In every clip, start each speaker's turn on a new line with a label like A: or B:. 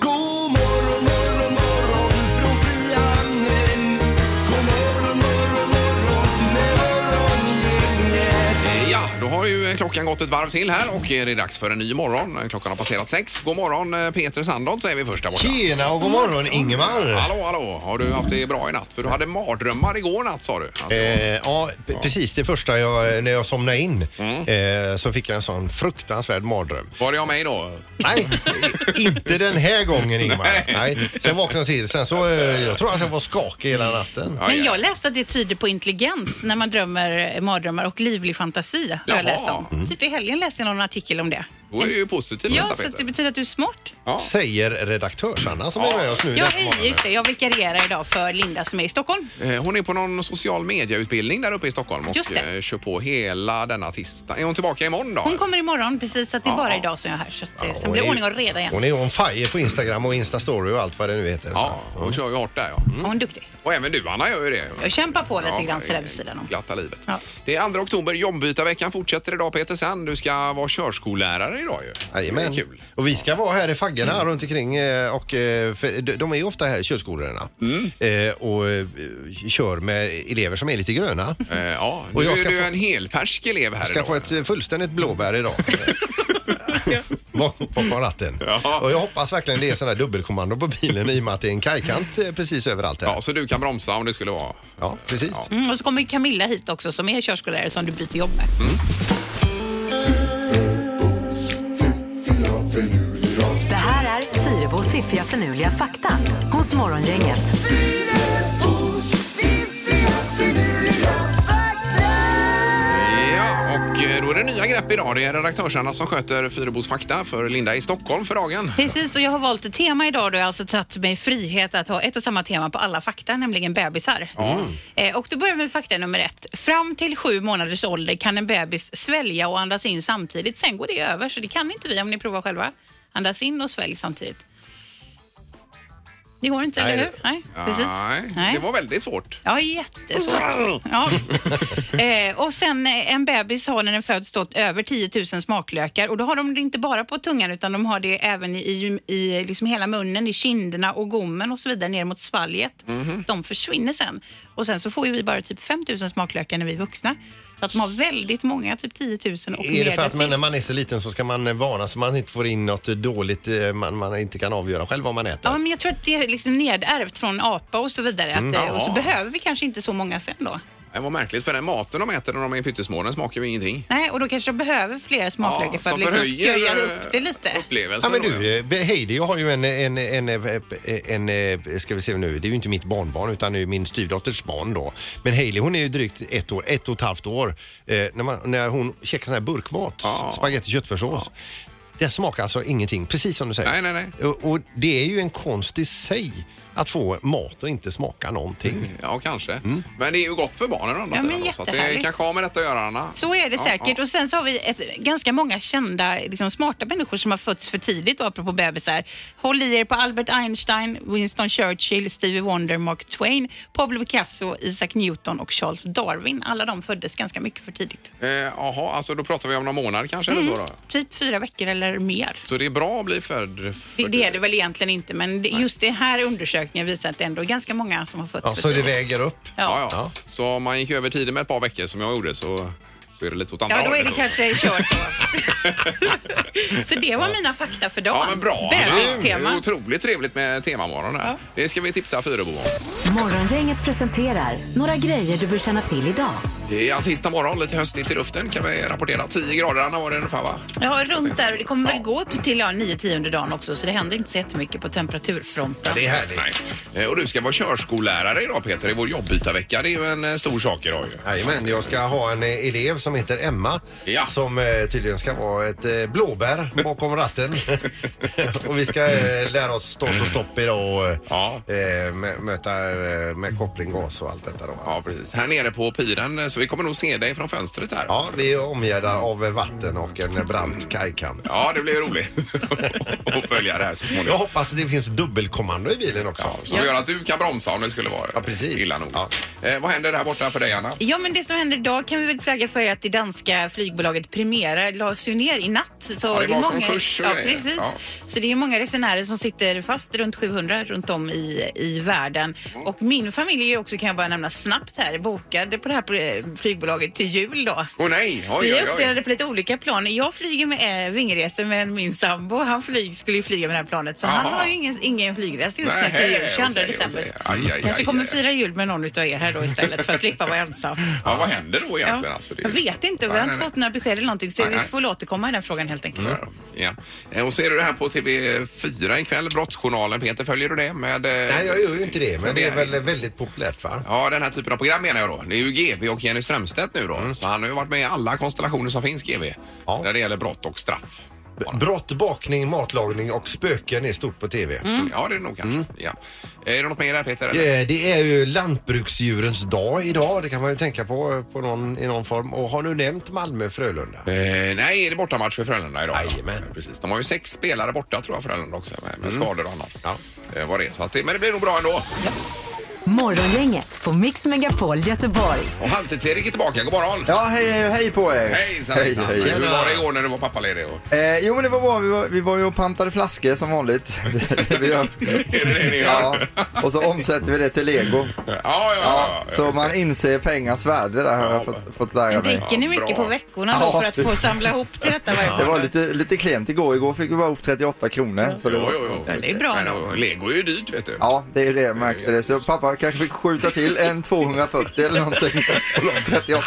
A: God morgon, morgon, morgon från Frihamnen. God morgon, morgon, morgon med morgongänget.
B: Eh, Ja, då har ju klockan gått ett varv till här och det är dags för en ny morgon. Eh, Klockan har passerat sex. God morgon eh, Peter Sandholt säger vi först där borta.
C: Tjena och god morgon Ingemar!
B: Hallå, hallå! Har du haft det bra i natt? För du hade mardrömmar igår natt sa du. Alltså, Att det var-
C: Eh, ja, p- precis det första jag, när jag somnade in eh, så fick jag en sån fruktansvärd mardröm.
B: Var det jag mig då?
C: Nej, i- inte den här gången Ingemar. Nej. Sen vaknade jag till. Sen så, eh, jag tror att jag var skakig hela natten.
B: Ja,
D: Men
B: ja.
D: jag läste att det tyder på intelligens när man drömmer eh, mardrömmar och livlig fantasi. Har
B: Jaha.
D: jag läst om. Typ i helgen läste jag någon artikel om det.
B: Då är det ju positivt
D: Ja,
B: detta,
D: så att det
B: Peter.
D: betyder att du är smart.
C: Säger redaktörs-Anna som
B: Ja.
C: är med oss nu.
D: Ja,
C: denna
D: hej,
C: morgonen.
D: just det. Jag vikarierar idag för Linda som är i Stockholm.
B: Eh, Hon är på någon social medieutbildning där uppe i Stockholm och
D: Just det.
B: eh, kör på hela denna tisdag. Är hon tillbaka imorgon då?
D: Hon kommer imorgon precis, så att det är
B: Ja,
D: bara
B: ja.
D: idag som jag är här. Så att, eh,
C: Hon
D: sen
C: är
D: blir det
C: ju-
D: ordning och reda igen.
C: Hon är on fire på Instagram och Instastory och allt vad det nu heter. Så.
B: Ja, hon kör ju hårt där ja. Mm.
D: Hon är duktig.
B: Och även du Anna gör ju det.
D: Jag kämpar på lite grann sådär
B: eh,
D: vid sidan om.
B: Glatta livet.
D: Ja.
B: Det är 2 oktober, jombytarveckan fortsätter idag Peter sen. Du ska vara körskollärare idag ju.
C: Jajamän.
B: Det är kul. Mm.
C: Och vi ska vara här i faggorna runt omkring eh, och eh, för de- de är ju ofta här i körskolorna
B: Mm.
C: Eh, och eh, kör med elever som är lite gröna.
B: Eh, ja, nu
C: Och jag
B: är
C: ska
B: du
C: få-
B: en helfärsk elev här
C: Jag ska
B: idag.
C: få ett eh, fullständigt blåbär idag. Bak- Bakom ratten.
B: Ja.
C: Och jag hoppas verkligen det är sådana här dubbelkommando på bilen i och med att det är en kajkant eh, precis överallt här.
B: Ja, så du kan bromsa om det skulle vara.
C: Ja, precis.
B: Ja.
D: Mm, och så kommer Camilla hit också som är körskollärare som du byter jobb med.
E: Det här är Fyrabos fiffiga förnuliga fakta hos Morgongänget.
A: Fyrabos fiffiga finurliga fakta.
B: Ja, och eh, då är det nya grepp idag. Det är redaktörsarna som sköter Fyrebos fakta för Linda i Stockholm för dagen.
D: Precis, och jag har valt ett tema idag då jag har alltså tagit mig frihet att ha ett och samma tema på alla fakta, nämligen bebisar. Eh, och då börjar vi med fakta nummer ett. Fram till sju månaders ålder kan en bebis svälja och andas in samtidigt. Sen går det över, så det kan inte vi om ni provar själva. Andas in och svälj samtidigt. Det går inte, eller hur? Nej, precis.
B: Nej,
D: Nej.
B: det var väldigt svårt.
D: Ja, jättesvårt. Ja. Eh, och sen eh, en bebis har när den föds stått över 10 000 smaklökar och då har de det inte bara på tungan utan de har det även i, i, i liksom hela munnen, i kinderna och gommen och så vidare ner mot svalget.
C: Mhm.
D: De försvinner sen. Och sen så får ju vi bara typ 5 000 smaklökar när vi är vuxna. Så att de har väldigt många, typ 10 000 och
C: Är det
D: mer
C: för att man,
D: därtill.
C: när man är så liten så ska man eh, varna så man inte får in något dåligt eh, man, man inte kan avgöra själv vad man äter?
D: Ja, men jag tror att det är liksom nedärvt från apa och så vidare. Att,
C: Mm,
D: eh, och så
B: Ja.
D: behöver vi kanske inte så många sen då.
B: Det var märkligt för den maten de äter när de är pyttesmå, den smakar ju ingenting.
D: Nej, och då kanske de behöver fler smaklökar för
B: som
D: att liksom
B: förhöjer,
D: sköja
B: eh,
D: upp det lite.
C: Ja
B: Upplevelsen
C: men
B: då,
C: du, eh, Be- Heidi jag har ju en, en, en, en, en, eh, ska vi se nu, det är ju inte mitt barnbarn utan det är ju min styvdotters barn då. Men Hailey hon är ju drygt ett år, ett och ett halvt år, eh, när, man, när hon käkar sån här burkmat,
B: Ja.
C: spagetti köttfärssås. Den smakar alltså ingenting, precis som du säger.
B: Nej, nej, nej.
C: Och, och det är ju en konst i sig att få mat och inte smaka någonting.
B: Ja, kanske. Men det är ju gott för barnen å andra
D: Mm. Ja, men
B: sidan. då, Så att det
D: jättehärligt.
B: kanske har med detta att göra, Anna.
D: Så är det
B: Ja,
D: säkert.
B: ja.
D: Och sen så har vi ett, ganska många kända, liksom, smarta människor som har fötts för tidigt, och apropå bebisar. Håll i er på Albert Einstein, Winston Churchill, Stevie Wonder, Mark Twain, Pablo Picasso, Isaac Newton och Charles Darwin. Alla de föddes ganska mycket för tidigt.
B: Eh, Jaha, alltså då pratar vi om någon månad kanske eller så då?
D: Typ fyra veckor eller mer.
B: Så det är bra att bli född
D: Det,
B: för
D: det är det väl egentligen inte, men det, just det här undersökningen visar att det ändå är ganska många som har fötts
C: Ja,
D: för
C: så det
D: tidigt.
C: väger upp.
B: Ja, ja.
C: Ja.
B: Så om man gick över tiden med ett par veckor som jag gjorde så, så är det lite åt andra
D: Ja, då är
B: hållet
D: det kanske kört då. så det var mina fakta för dagen.
B: Ja, men bra. Anna. Det
D: Bebistema.
B: är otroligt trevligt med temamorgon här.
D: Ja.
B: Det ska vi tipsa Fyrebo om.
E: Morgongänget presenterar några grejer du bör känna till idag.
B: Det är tisdag morgon, lite höstigt i luften kan vi rapportera. 10 grader Anna var det ungefär va?
D: Ja, runt där. Det kommer
B: Ja.
D: väl gå upp till ja, 9-10 under dagen också, så det händer inte så jättemycket på temperaturfronten.
B: är härligt. Nej. Eh, Och du ska vara körskollärare idag Peter i vår jobbytarvecka. Det är ju en eh, stor sak idag ju.
C: Jajamän, jag ska ha en eh, elev som heter Emma
B: Ja.
C: som eh, tydligen ska vara ett eh, blåbär bakom ratten. och vi ska eh, lära oss start och stopp idag och
B: Ja.
C: eh, mö- möta eh, eh, med koppling, gas och allt detta då.
B: Ja, precis. Här nere på piren, eh, så vi kommer nog se dig från fönstret här.
C: Ja, vi är omgärdade av eh, vatten och en brant kajkant.
B: Ja, det blir roligt att följa det här så
C: Jag
B: småningom.
C: hoppas att det finns dubbelkommando i bilen också.
B: Ja, som gör att du kan bromsa om det skulle vara
C: Ja, precis.
B: illa nog.
C: Ja.
B: Eh, vad händer där borta för dig, Anna?
D: Ja, men det som händer idag kan vi väl flagga för är att det danska flygbolaget Primera lades ju ner i natt. Så
B: Ja, det var
D: många,
B: konkurs och
D: ja,
B: grejer.
D: precis.
B: Ja.
D: Så det är många resenärer som sitter fast runt 700 runt om i, i världen. Och min familj är också, kan jag bara nämna snabbt här, bokade på det här eh, flygbolaget till jul då.
B: Åh nej, oj,
D: Vi
B: oj,
D: är
B: oj.
D: uppdelade på lite olika plan. Jag flyger med eh, vingresor med min sambo. Han flyg, skulle ju flyga med det här planet så han
B: Jaha.
D: har ju ingen, ingen flygresa just nu
B: Nej,
D: till jul, 22
B: okej,
D: december. Mm.
B: okej. Aj, aj,
D: Kanske
B: aj,
D: kommer
B: aj.
D: fira jul med någon utav er här då istället för att slippa vara ensam.
B: Ja, vad händer då egentligen?
D: Ja,
B: Alltså, det är
D: jag
B: ju-
D: vet inte, vi
B: Nej,
D: har inte
B: nej,
D: fått några besked eller någonting så
B: Nej,
D: vi
B: nej.
D: får väl återkomma i den frågan helt enkelt.
B: nej. Ja. Eh, Och ser du det här på TV4 ikväll, Brottsjournalen. Peter, följer du det med... eh,
C: Nej, jag gör ju inte det, men det är väl väldigt populärt va?
B: Ja, den här typen av program menar jag då. Det är ju GV och Jenny Strömstedt nu då.
F: Mm.
B: Så han har ju varit med i alla konstellationer som finns GV.
C: Ja.
B: Där det gäller brott och straff.
C: B- Brott, bakning, matlagning och spöken är stort på TV.
F: Mm.
B: Ja, det är det nog kanske. Ja. Är det något mer där Peter? eller?
C: Eh, Det är ju lantbruksdjurens dag idag, det kan man ju tänka på, på någon, i någon form. Och har nu nämnt Malmö-Frölunda?
B: Eh, nej, det är bortamatch för Frölunda idag.
C: Jajamän.
B: Ja, Precis. De har ju sex spelare borta tror jag Frölunda också med, med
F: Mm.
B: skador och annat.
C: Ja.
B: Eh, vad det är. Så att det, men det blir nog bra ändå.
E: Morgongänget på Mix Megapol Göteborg.
B: Och Halvtids-Erik är tillbaka. God morgon!
F: Ja, hej, hej, hej på er!
B: Hejsan,
F: Hej,
B: hejsan.
F: hej.
B: Hur var det igår när du var pappaledig? Och...
F: Eh, jo men det var bra, vi var, vi var ju och pantade flaskor som vanligt. Det vi gör.
B: Är det det ni
F: Ja,
B: gör?
F: och så omsätter vi det till lego.
B: Ja, ja, ja.
F: Ja, så man inser pengars värde där har jag fått, fått lära mig.
D: Dricker ni
B: Ja,
D: mycket
B: bra.
D: på veckorna då
F: Ja,
D: för att
F: det-
D: få samla ihop till detta varje
F: Det var
D: månad?
F: lite, lite klent igår, igår fick vi bara upp 38 kronor. Så det
B: Jo,
F: var...
B: jo, jo.
D: Ja, det är bra
B: Men,
D: då.
B: och Lego är ju dyrt vet du.
F: Ja, det är ju det jag märkte det. Så pappa kanske fick skjuta till en 240 eller någonting på de 38.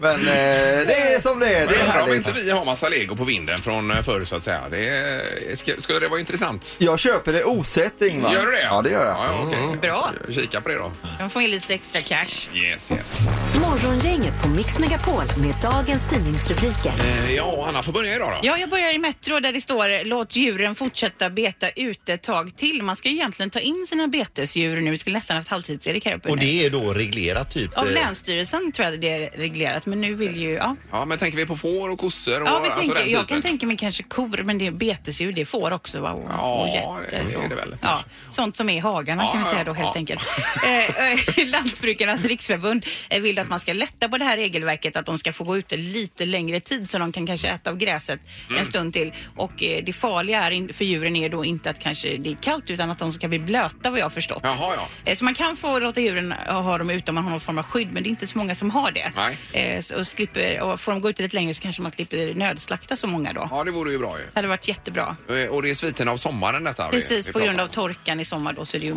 F: Men eh, det är som det är, det är
B: Men undrar om
F: härligt.
B: inte vi har massa lego på vinden från eh, förr så att säga. Det är, ska, skulle det vara intressant?
F: Jag köper det osett Ingvar.
B: Gör du det?
F: Ja, det gör jag. Mm.
B: Ja, ja, okej.
D: Bra.
B: Kika på det då.
D: De får in lite extra cash.
B: Yes, yes.
E: Morgongänget på Mix Megapol med dagens tidningsrubriker.
B: Eh, Ja, Anna får börja idag då.
D: Ja, jag börjar i Metro där det står låt djuren fortsätta beta ute ett tag till. Man ska egentligen ta in sina betesdjur nu. Vi skulle nästan haft halvtids-Erik här uppe.
C: Och
D: nu.
C: det är då reglerat typ?
D: Av
C: eh,
D: Länsstyrelsen tror jag det är reglerat, men nu vill ju... Ja,
B: Ja, men tänker vi på får och kossor och
D: ja vi
B: alltså
D: tänker,
B: den
D: jag kan
B: typen?
D: tänka mig kanske kor, men det är betesdjur, det får också va? Och,
B: Ja,
D: och
B: det är
D: getter.
B: det
D: och-
B: väl.
D: Ja, sånt som är i hagarna
B: Ja,
D: kan vi
B: ja,
D: säga då
B: ja.
D: helt enkelt. Eh, eh, Lantbrukarnas riksförbund eh, vill att man ska lätta på det här regelverket, att de ska få gå ute lite längre tid så de kan kanske äta av gräset
B: Mm.
D: en stund till. Och eh, det farliga är in- för djuren är då inte att kanske det är kallt utan att de ska bli blöta vad jag har förstått.
B: Jaha, ja.
D: Eh, Så man kan få låta djuren ha ha dem ute om man har någon form av skydd, men det är inte så många som har det.
B: Nej.
D: Eh, så- och, slipper, och får de gå ut lite längre så kanske man slipper nödslakta så många då.
B: Ja, det vore ju bra ju.
D: Det hade varit jättebra.
B: Eh, Och det är sviten av sommaren detta. vi-
D: Precis,
B: vi
D: på
B: pratar
D: grund
B: om.
D: av torkan i sommar då så är det ju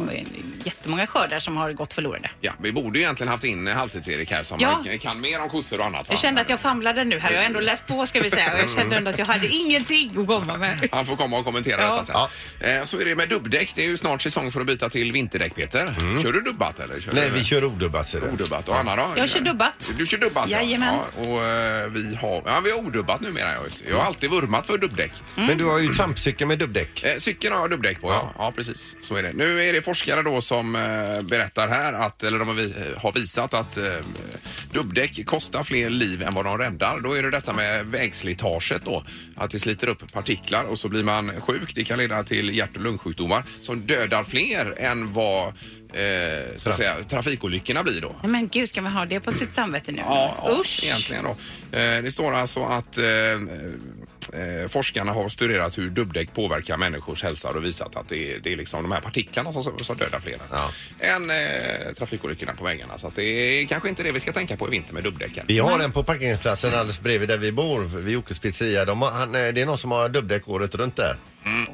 D: jättemånga skördar som har gått förlorade.
B: Ja, vi borde ju egentligen haft in eh, Halvtids-Erik här som
D: Ja.
B: eh, kan mer om kossor och annat. va?
D: Jag kände att jag famlade nu här. Jag har ändå läst på ska vi säga och jag kände ändå att jag hade ingenting att komma med.
B: Han får komma och kommentera
D: Ja.
B: detta sen. Eh, Så är det med dubbdäck. Det är ju snart säsong för att byta till vinterdäck, Peter. Kör du dubbat eller? Kör
C: Nej,
B: du...
C: vi kör odubbat ser du.
B: Odubbat. Och Anna då?
D: Jag kör dubbat.
B: Du kör dubbat
D: Jajamän.
B: ja. Och eh, vi har, ja, vi har odubbat nu menar jag. Just. det. Jag har alltid vurmat för dubbdäck.
C: Men du har ju trampcykel med dubbdäck.
B: Eh, cykeln har jag dubbdäck på, ja. ja. precis. Så är det. Nu är det forskare då som eh, berättar här att, eller de har, vi, eh, har visat att eh, dubbdäck kostar fler liv än vad de räddar. Då är det detta med vägslitaget då. Att det sliter upp partiklar och så blir man sjuk. Det kan leda till hjärt och lungsjukdomar som dödar fler än vad eh, så att säga, trafikolyckorna blir då.
D: Nej, Men gud, ska man ha det på sitt samvete nu?
B: Ja, ja
D: Usch!
B: egentligen då. Eh, Det står alltså att eh, eh, forskarna har studerat hur dubbdäck påverkar människors hälsa och visat att det är, det är liksom de här partiklarna som, som dödar fler
C: Ja.
B: än eh, trafikolyckorna på vägarna. Så att det är kanske inte det vi ska tänka på i vinter med dubbdäcken.
C: Vi har en på parkeringsplatsen alldeles bredvid där vi bor, vid Jokes pizzeria. De har, han, eh, det är någon som har dubbdäck året runt där.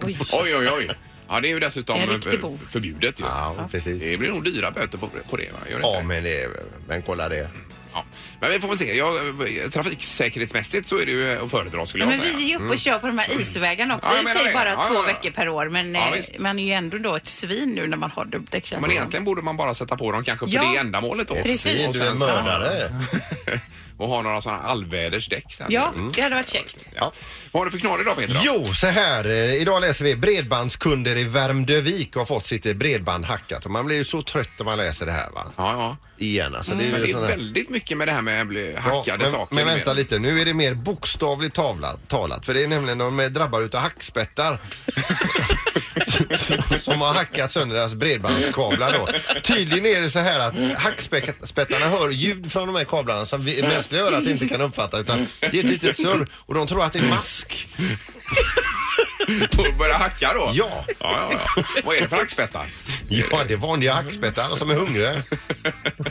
D: Oj.
B: Oj, oj, oj. Ja, det är ju dessutom
D: En riktig
B: eh,
D: bov.
B: förbjudet ju.
C: Ja, precis.
B: Det blir nog dyra böter på, på det, va? Gör det
C: Ja,
B: inte?
C: men, det, är- men kolla det.
B: Ja. Men vi får väl se. Ja, eh, trafiksäkerhetsmässigt så är det ju att föredra skulle
D: Ja,
B: jag
D: men
B: säga. Mm.
D: vi är ju uppe och kör på de här isvägarna också.
B: Ja, jag
D: I och för
B: menar
D: sig
B: det.
D: bara
B: Ja,
D: två
B: ja, ja.
D: veckor per år, men
B: Ja,
D: eh,
B: visst.
D: man är ju ändå då ett svin nu när man har dubbdäck känns
B: Men
D: det som.
B: egentligen borde man bara sätta på dem kanske för
D: Ja.
B: det ändamålet då.
D: Precis.
B: Och
C: Du är
B: sen
C: en
B: så-
C: mördare.
B: och ha några sådana allvädersdäck sen.
D: Ja, det hade varit käckt.
B: Ja. Vad har du för knorr idag Peter? då?
C: Jo, så här. eh, Idag läser vi bredbandskunder i Värmdövik har fått sitt eh, bredband hackat. Och man blir ju så trött när man läser det här va.
B: Ja, ja.
C: Igen alltså. Det är ju
B: Mm. Men det är
C: sån här-
B: väldigt mycket med det här med bli-
C: Ja,
B: hackade
C: men,
B: saker.
C: Men
B: med.
C: vänta lite, nu är det mer bokstavligt tavla, talat. För det är nämligen de är drabbade utav hackspettar. som har hackat sönder deras bredbandskablar då. Tydligen är det så här att hackspettarna hör ljud från de här kablarna som vi mänskliga örat inte kan uppfatta utan det är ett litet surr och de tror att det är mask.
B: Och börja hacka då?
C: Ja.
B: ja, ja, ja. Vad är det för hackspettar?
C: Ja, det är vanliga hackspettar som är hungriga.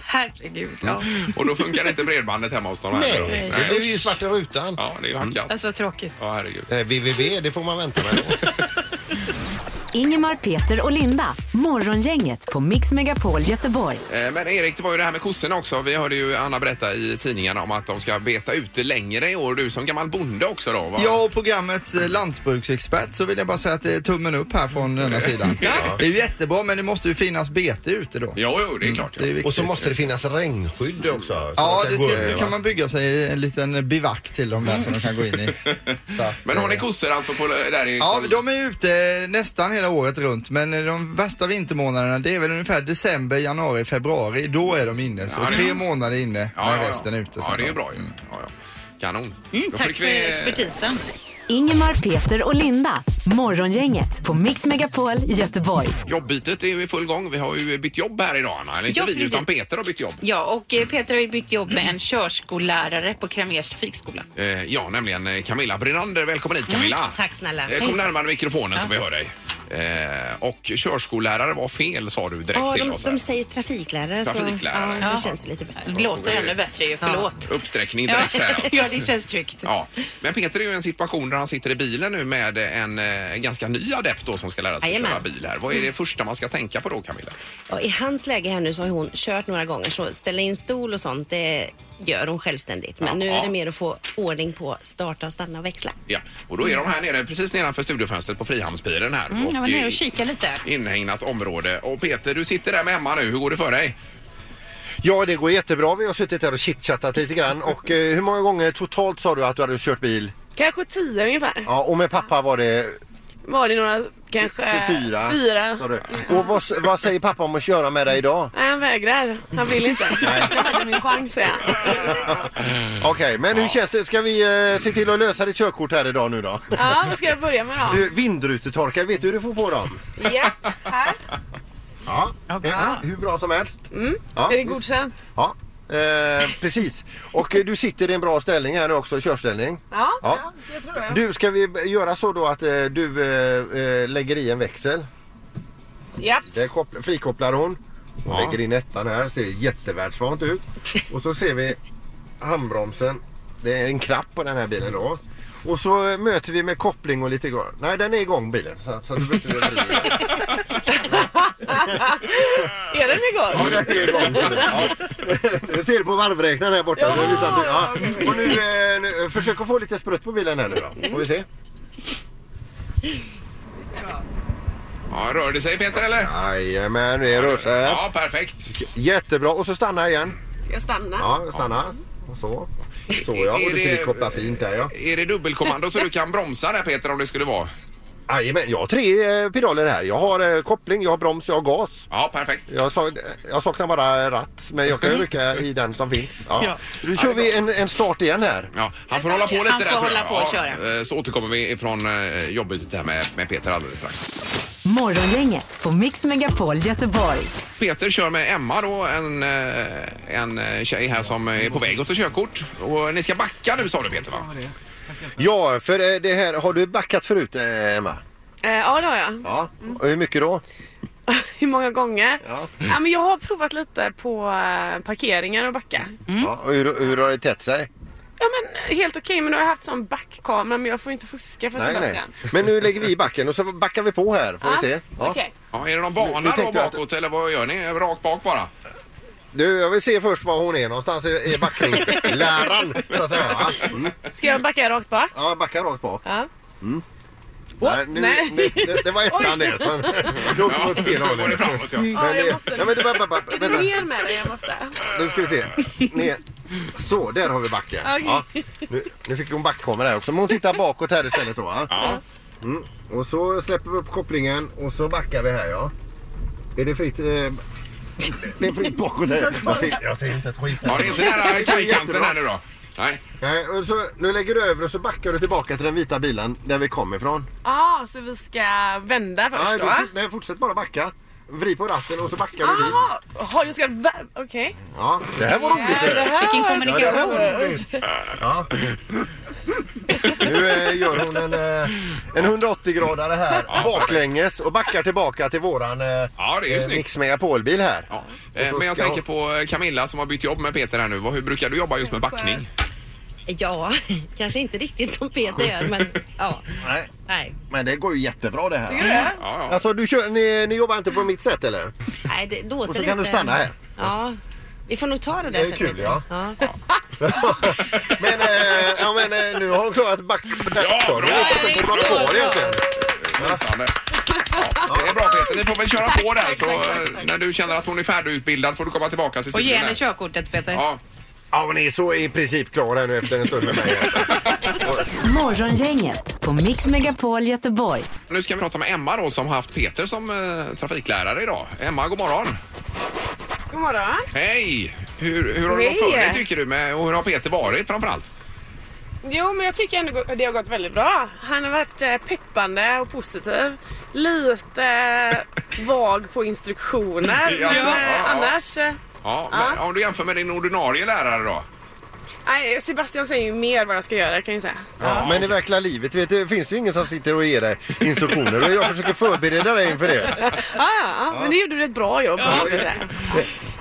D: Herregud, ja.
B: Och då funkar inte bredbandet hemma hos dem heller då?
C: Nej, det blir ju svarta rutan.
B: Ja, det är ju hackat.
D: Alltså tråkigt.
B: Ja, herregud.
C: Eh, VVV, det får man vänta med. då.
E: Ingemar, Peter och Linda. Morgongänget på Mix Megapol Göteborg.
B: Eh, Men Erik, det var ju det här med kossorna också. Vi hörde ju Anna berätta i tidningarna om att de ska beta ute längre i år. Du som gammal bonde också då? Va?
F: Jag och programmet eh, Lantbruksexpert så vill jag bara säga att det är tummen upp här från denna sidan. Det är ju jättebra men det måste ju finnas bete ute då.
B: Jo, jo, det är klart.
F: Det är
B: Ja.
F: viktigt.
C: Och så måste Mm, det finnas regnskydd också. så
F: Ja,
C: att
F: det
C: går
F: ska,
C: över, va?
F: kan man bygga sig en liten bivack till dem där som de kan gå in i. Så att,
B: Men har ni
F: eh,
B: kossor alltså på, där i...
F: Ja, de är ute eh, nästan hela året runt men eh, de värsta vintermånaderna det är väl ungefär december, januari, februari. Då är de inne. Så
B: Ja, det-
F: tre månader inne
B: Ja,
F: när
B: ja, ja.
F: resten är ute.
B: Ja,
F: sen
B: det är
F: då. Mm.
B: ju bra ju. Ja, ja. Kanon. Då
D: Mm, Tack
B: fick
D: för
B: vi-
D: expertisen.
E: Ingemar, Peter och Linda. Morgongänget på Mix Megapol Göteborg.
B: Jobbytet är ju i full gång. Vi har ju bytt jobb här idag, Anna. Eller inte
D: Ja,
B: vi,
D: precis.
B: utan Peter har bytt jobb.
D: Ja, och eh, Peter har ju bytt jobb med en körskollärare på Kramers trafikskola.
B: Eh, Ja, nämligen eh, Camilla Brinander. Välkommen
D: Mm,
B: hit, Camilla.
G: tack snälla.
B: Eh, Kom
G: Hej.
B: närmare mikrofonen så vi hör dig. Eh, Och körskollärare var fel, sa du direkt
G: Ja,
B: till
G: de,
B: oss. här.
G: de säger trafiklärare.
B: Trafiklärare.
G: Så, ja, det känns ju lite bättre.
D: Det låter ännu bättre ju, förlåt.
B: Uppsträckning
D: Ja,
B: direkt här alltså.
D: ja det känns tryggt.
B: Ja, men Peter är ju i en situation där han sitter i bilen nu med en eh, ganska ny adept då som ska lära sig att
G: Jajamän.
B: köra bil här. Vad är det första man ska tänka på då Camilla?
G: Och I hans läge här nu så har ju hon kört några gånger så ställa in stol och sånt det gör hon självständigt. Men nu
B: Ja.
G: är det mer att få ordning på starta, stanna och växla.
B: Ja, och då är de här nere precis nedanför studiofönstret på Frihamnspiren här.
D: Mm, jag var
B: det är
D: nere och kika lite. där.
B: Inhägnat område. Och Peter, du sitter där med Emma nu. Hur går det för dig?
C: Ja, det går jättebra. Vi har suttit här och chitchattat lite grann. Och eh, hur många gånger totalt sa du att du hade kört bil?
H: Kanske tio ungefär.
C: Ja, och med pappa var det
H: Var det några kanske...
C: f- fyra.
H: Eh, Fyra.
C: sa du. Och vad, s- vad säger pappa om att köra med dig idag?
H: Nej, han vägrar. Han vill inte. Jag hade min chans, säger han.
C: Okej, men hur känns det? Ska vi eh, se till att lösa ditt körkort här idag nu då?
H: Ja, vad ska jag börja med då?
C: Du, vindrutetorkare, vet du hur du får på dem?
H: Ja, här.
C: Ja, eh, hur bra som helst. Ja,
H: Mm. Är det
C: visst.
H: godkänt?
C: Ja, eh, precis. Och eh, du sitter i en bra ställning här nu också, körställning.
H: Ja,
C: Ja.
H: ja. det tror jag.
C: Du, ska vi b- göra så då att eh, du eh, eh, lägger i en växel?
H: Ja.
C: Där koppl- frikopplar hon. Hon lägger in ettan här. Ser jättevärldsvant ut. Och så ser vi handbromsen. Det är en krapp på den här bilen då. Och så eh, möter vi med koppling och lite igång. Nej, den är igång bilen. Så, så du behöver inte vrida.
H: Är den igång?
C: Ja, den är igång bilen. Ja. Du ser det på varvräknaren här borta.
H: Ja,
C: Så det visar att du-
H: ja,
C: ja. Och nu, eh, nu, försök att få lite sprutt på bilen här nu då. Får vi se.
B: Ja, rör det sig Peter eller?
C: Jajamän, det rör sig. här.
B: Ja, perfekt.
C: Jättebra. Och så stanna igen.
H: Ska jag stanna?
C: Ja, stanna. Och så. Så ja,
B: Är
C: och du
B: det-
C: frikopplar fint där ja.
B: Är det dubbelkommando så du kan bromsa där Peter om det skulle vara?
C: Jajamän, jag har tre eh, pedaler här. Jag har eh, koppling, jag har broms, jag har gas.
B: Ja, perfekt.
C: Jag, sa, jag saknar bara ratt, men jag kan ju rycka i den som finns. Ja.
D: Ja.
C: Nu kör vi en, en start igen här.
B: Ja, han får hålla på lite
D: Han
B: där
D: får
B: tror jag.
D: hålla på och köra.
B: eh, Så återkommer vi ifrån eh, jobbet här med, med Peter alldeles strax.
E: Morgongänget på Mix Megapol Göteborg.
B: Peter kör med Emma då, en, eh, en eh, tjej här som är på väg att ta körkort. Och ni ska backa nu sa du Peter va?
C: Ja, för eh, det här, har du backat förut eh, Emma?
H: Eh, Ja, det har jag.
C: Ja. Och hur mycket då?
H: Hur många gånger?
C: Ja.
H: Ja, men jag har provat lite på eh, parkeringar och backa.
C: Ja, och hur, hur har det tätt sig?
H: Ja, men helt okej, men då har jag haft sån backkamera, men jag får inte fuska för
C: Nej, nej.
H: Sebastian.
C: Men nu lägger vi i backen och så backar vi på här får vi se. Ja.
H: okej.
B: Ja, är det någon
C: Nu- nu
B: bana då
C: tänkte jag att-
B: bakåt eller vad gör ni? Rakt bak bara?
C: Du, jag vill se först var hon är någonstans i, i backningsläran. så att säga, va? Mm.
H: Ska jag backa rakt bak?
C: Ja, backa rakt bak.
H: Ja.
C: Nej, nu,
H: nej.
C: nej. Det, det var ettan det. Så då åkte vi åt fel
B: nu
C: håll.
B: går det framåt ja.
H: Mm. Ja,
C: Men,
H: jag
C: det-
H: måste.
C: nej, men du, bara, bara,
H: Är
C: vänta.
H: du ner med dig? Jag måste.
C: Nu ska vi se. Ner. Så, där har vi backen.
A: Okej.
C: Ja. Nu, nu fick hon backkamera här också, men hon tittar bakåt här istället då va? Ja. Mm. Och så släpper vi upp kopplingen och så backar vi här ja. Är det fritt? Eh... Det är fritt bakåt här. Jag ser, jag ser inte ett skit här.
B: Ja, det är inte nära kajkanten här nu då. Nej.
C: Nej, och så, nu lägger du över och så backar du tillbaka till den vita bilen där vi kom ifrån.
H: Ja, så vi ska vända först
C: Nej,
H: då?
C: du-
H: va?
C: nej, fortsätt bara backa. Vrid på ratten och så backar du dit.
H: Jaha, Jaha, jag ska... vä- Okej.
C: Ja, det här var roligt.
H: Ja, det här
D: Vilken
H: var-
D: kommunikation.
H: Ja, det här var roligt.
C: Ja. Nu eh, gör hon en, eh, en 180-gradare här baklänges och backar tillbaka till våran eh,
B: Ja, det är ju
C: eh,
B: snyggt.
C: Mix Megapol-bil här. Ja.
B: Eh, Men jag tänker på Camilla som har bytt jobb med Peter här nu. Vad- Hur brukar du jobba just med backning?
G: Ja, kanske inte riktigt som Peter gör, men ja.
C: Nej.
G: Nej,
C: Men det går ju jättebra det här.
G: Tycker du det?
B: Ja,
G: ja.
C: Alltså, du kör, ni, ni jobbar inte på mitt sätt eller?
G: Nej det låter
C: Och så
G: lite...
C: kan du stanna här.
G: Ja, vi får nog ta det där
C: Det är
G: sen,
C: kul,
G: Peter.
C: ja.
G: ja.
C: Men, eh, ja, men eh, nu har hon klarat back... Ja, bra! Det är bra kvar egentligen.
B: Lysande. Ja, det är bra Peter. Ni får väl köra på där så eh, när du känner att hon är färdigutbildad får du komma tillbaka till
D: Och ge
B: studion.
D: henne
B: här.
D: körkortet Peter.
B: Ja.
C: Ja, hon är så i princip klar här nu efter en stund med mig.
E: Morgongänget på Mix Megapol Göteborg.
B: Nu ska vi prata med Emma då som har haft Peter som eh, trafiklärare idag. Emma, god morgon.
H: God morgon.
B: Hej! Hur, hur har det
H: Hej.
B: gått för dig tycker du med, och hur har Peter varit framförallt?
H: Jo, men jag tycker ändå att det har gått väldigt bra. Han har varit eh, peppande och positiv. Lite eh, vag på instruktioner.
B: Alltså, Ja,
H: men
B: så,
H: eh,
B: ja, ja.
H: annars... eh,
B: Ja, men om du jämför med din ordinarie lärare då?
H: Nej, Sebastian säger ju mer vad jag ska göra kan jag säga.
C: Ja, men i verkliga livet vet du, finns det ju ingen som sitter och ger dig instruktioner. Och jag försöker förbereda dig inför det.
H: Ja, ja, ja, men det gjorde du ett bra jobb. måste jag säga.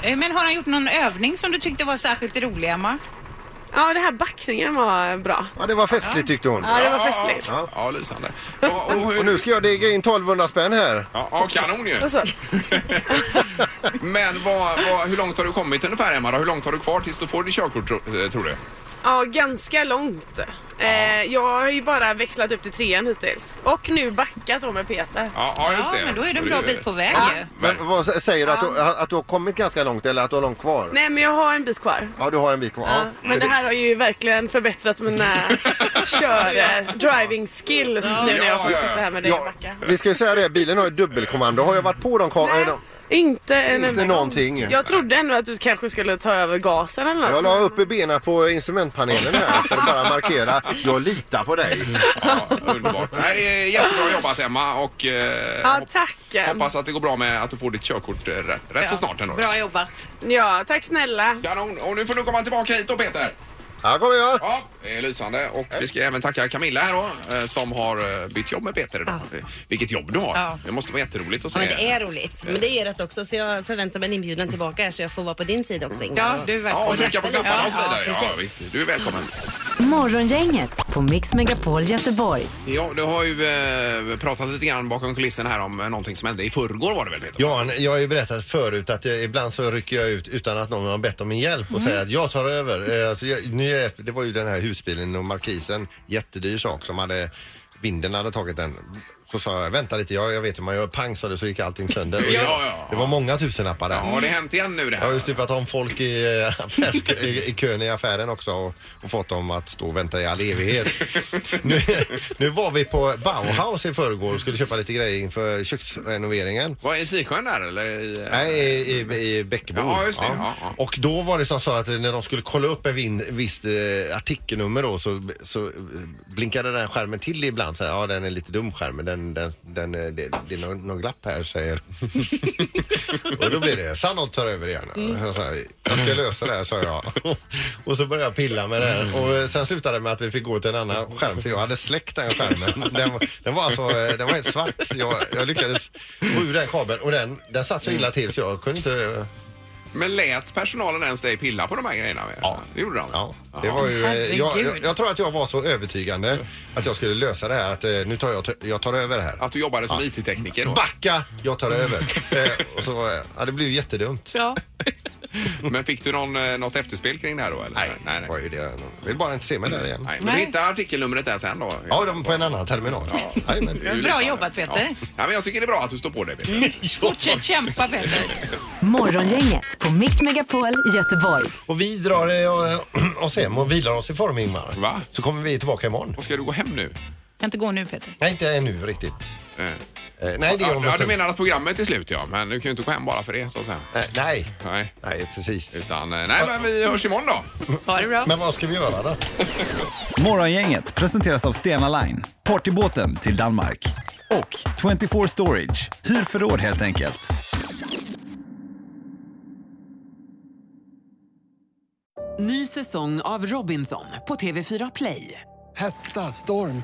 D: Eh, Men har han gjort någon övning som du tyckte var särskilt rolig Emma?
H: Ja, det här backningen var bra.
C: Ja, det var festligt tyckte hon.
H: Ja, det var festligt.
C: Ja,
B: ja lysande.
C: Och nu ska jag dega in 1200 spänn här.
B: Ja, ja kanon ju.
H: Och så.
B: Men vad, vad, hur långt har du kommit ungefär Emma? Då? Hur långt har du kvar tills du får ditt körkort tro, eh, tror du?
H: Ja, ganska långt. Eh, jag har ju bara växlat upp till trean hittills. Och nu backat då med Peter.
B: Ja, ja just det. Så
H: väg ju.
C: Men vad sä- säger du? Att du,
H: Ja.
C: att du har kommit ganska långt eller att du har långt kvar?
H: Nej, men jag har en bit kvar.
C: Ja, du har en bit kvar.
H: Ja, men det här har ju verkligen förbättrat mina kör, eh, driving skills nu när jag får sitta här med dig och backa.
C: Vi ska ju säga det, bilen har ju dubbelkommando. Har jag varit på dem? Kom, Nej, de,
H: Inte en
C: inte
H: enda
C: någonting.
H: gång. Jag trodde ändå att du kanske skulle ta över gasen eller något.
C: Jag la uppe benen på instrumentpanelen här för att bara markera. Jag litar på dig.
B: Underbart. Nej, det är jättebra jobbat Emma och eh,
H: Ja, tack.
B: hoppas att det går bra med att du får ditt körkort eh, rätt, rätt så snart ändå.
H: jobbat. Ja, tack snälla.
B: Kanon. Och nu får du komma tillbaka hit då Peter.
C: Här kommer jag.
B: Ja, det är lysande. Och vi ska även tacka Camilla här då, eh, som har eh, bytt jobb med Peter idag. Eh, Vilket jobb du har.
G: Ja.
B: Det måste vara jätteroligt att se.
G: Ja, men det är roligt. Men det är rätt också så jag förväntar mig en inbjudan tillbaka här så jag får vara på din sida också Ingmar.
D: Ja, du är
B: Ja, och trycka på knapparna och så vidare.
G: precis.
B: Ja, visst. Du är välkommen.
E: Morgongänget på Mix Megapol Göteborg.
B: Ja, du har ju eh, pratat lite grann bakom kulissen här om eh, någonting som hände i förrgår var det väl Peter?
C: Ja, jag har ju berättat förut att jag, ibland så rycker jag ut utan att någon har bett om min hjälp och
B: Mm.
C: säger att jag tar över. Eh, Alltså, jag, nu är, det var ju den här husbilen och markisen, jättedyr sak som hade, vinden hade tagit den. Så sa jag, vänta lite, jag, jag vet hur man gör. Pang sa det så gick allting sönder. Och det-
B: Ja, ja.
C: Det var många tusenlappar där.
B: Har det hänt igen nu det
C: Jag har
B: här?
C: ju stupat om folk i, eh, affärs- i, i kön i affären också och, och fått dem att stå och vänta i all evighet. nu, nu var vi på Bauhaus i förrgår och skulle köpa lite grejer inför köksrenoveringen.
B: Var i Sisjön där eller? I,
C: Nej, i, i, i Bäckebo.
B: Ja, just det. Ja, ja.
C: Och då var det som så att när de skulle kolla upp en vin, visst eh, artikelnummer då så, så eh, blinkade den här skärmen till ibland. Så här, ja, den är lite dum skärmen. Den, den, den, eh, det, det är någon, någon glapp här, säger och då blir det Sanot tar över igen.
B: Mm.
C: Jag, sa, jag ska lösa det här, sa jag. Och så började jag pilla med det.
B: Mm.
C: här. Och eh, sen slutade det med att vi fick gå till en annan skärm för jag hade släckt den skärmen. Den, den var alltså, eh, den var helt svart. Jag, jag lyckades få ur den kabeln och den, den satt så illa till så jag kunde inte... eh,
B: Men lät personalen ens dig pilla på de här grejerna? Ja. Det gjorde de? Ja.
C: Det var ju, eh, jag, jag, jag tror att jag var så övertygande att jag skulle lösa det här att eh, nu tar jag, jag tar över det här.
B: Att du jobbade som IT-tekniker då?
C: Backa! Jag tar över. Eh, och så, eh, ja, det blev ju jättedumt.
D: Ja.
B: Men fick du någon, eh, något efterspel kring det här då? Eller? Nej, nej, nej. Var
C: ju det. vill bara inte se mig där igen.
B: Nej, men du
C: Nej.
B: hittade artikelnumret där sen då?
C: Ja, de på en annan terminal. Ja.
D: Bra jobbat Peter.
B: Ja. ja, men jag tycker det är bra att du står på dig Peter.
D: Fortsätt kämpa Peter.
E: Morgongänget på Mix Megapol Göteborg.
C: Och vi drar eh, oss hem och vilar oss i form Ingmar. Va? Så kommer vi tillbaka imorgon.
B: Och ska du gå hem nu? Eh.
D: Kan inte gå nu Peter.
C: Nej, inte ännu riktigt. Eh, nej, det
B: ja,
C: är om en
B: ja, du
C: stund.
B: menar att programmet är slut ja, men du kan ju inte gå hem bara för det så att säga.
C: Eh, nej.
B: nej.
C: Nej, precis.
B: Utan, eh, nej men vi hörs imorgon då.
D: Ha det bra.
C: Men vad ska vi göra då?
I: Morgongänget presenteras av Stena Line, partybåten till Danmark. Och 24 Storage, hyr förråd helt enkelt.
J: Ny säsong av Robinson på TV4 Play.
K: Hetta, storm,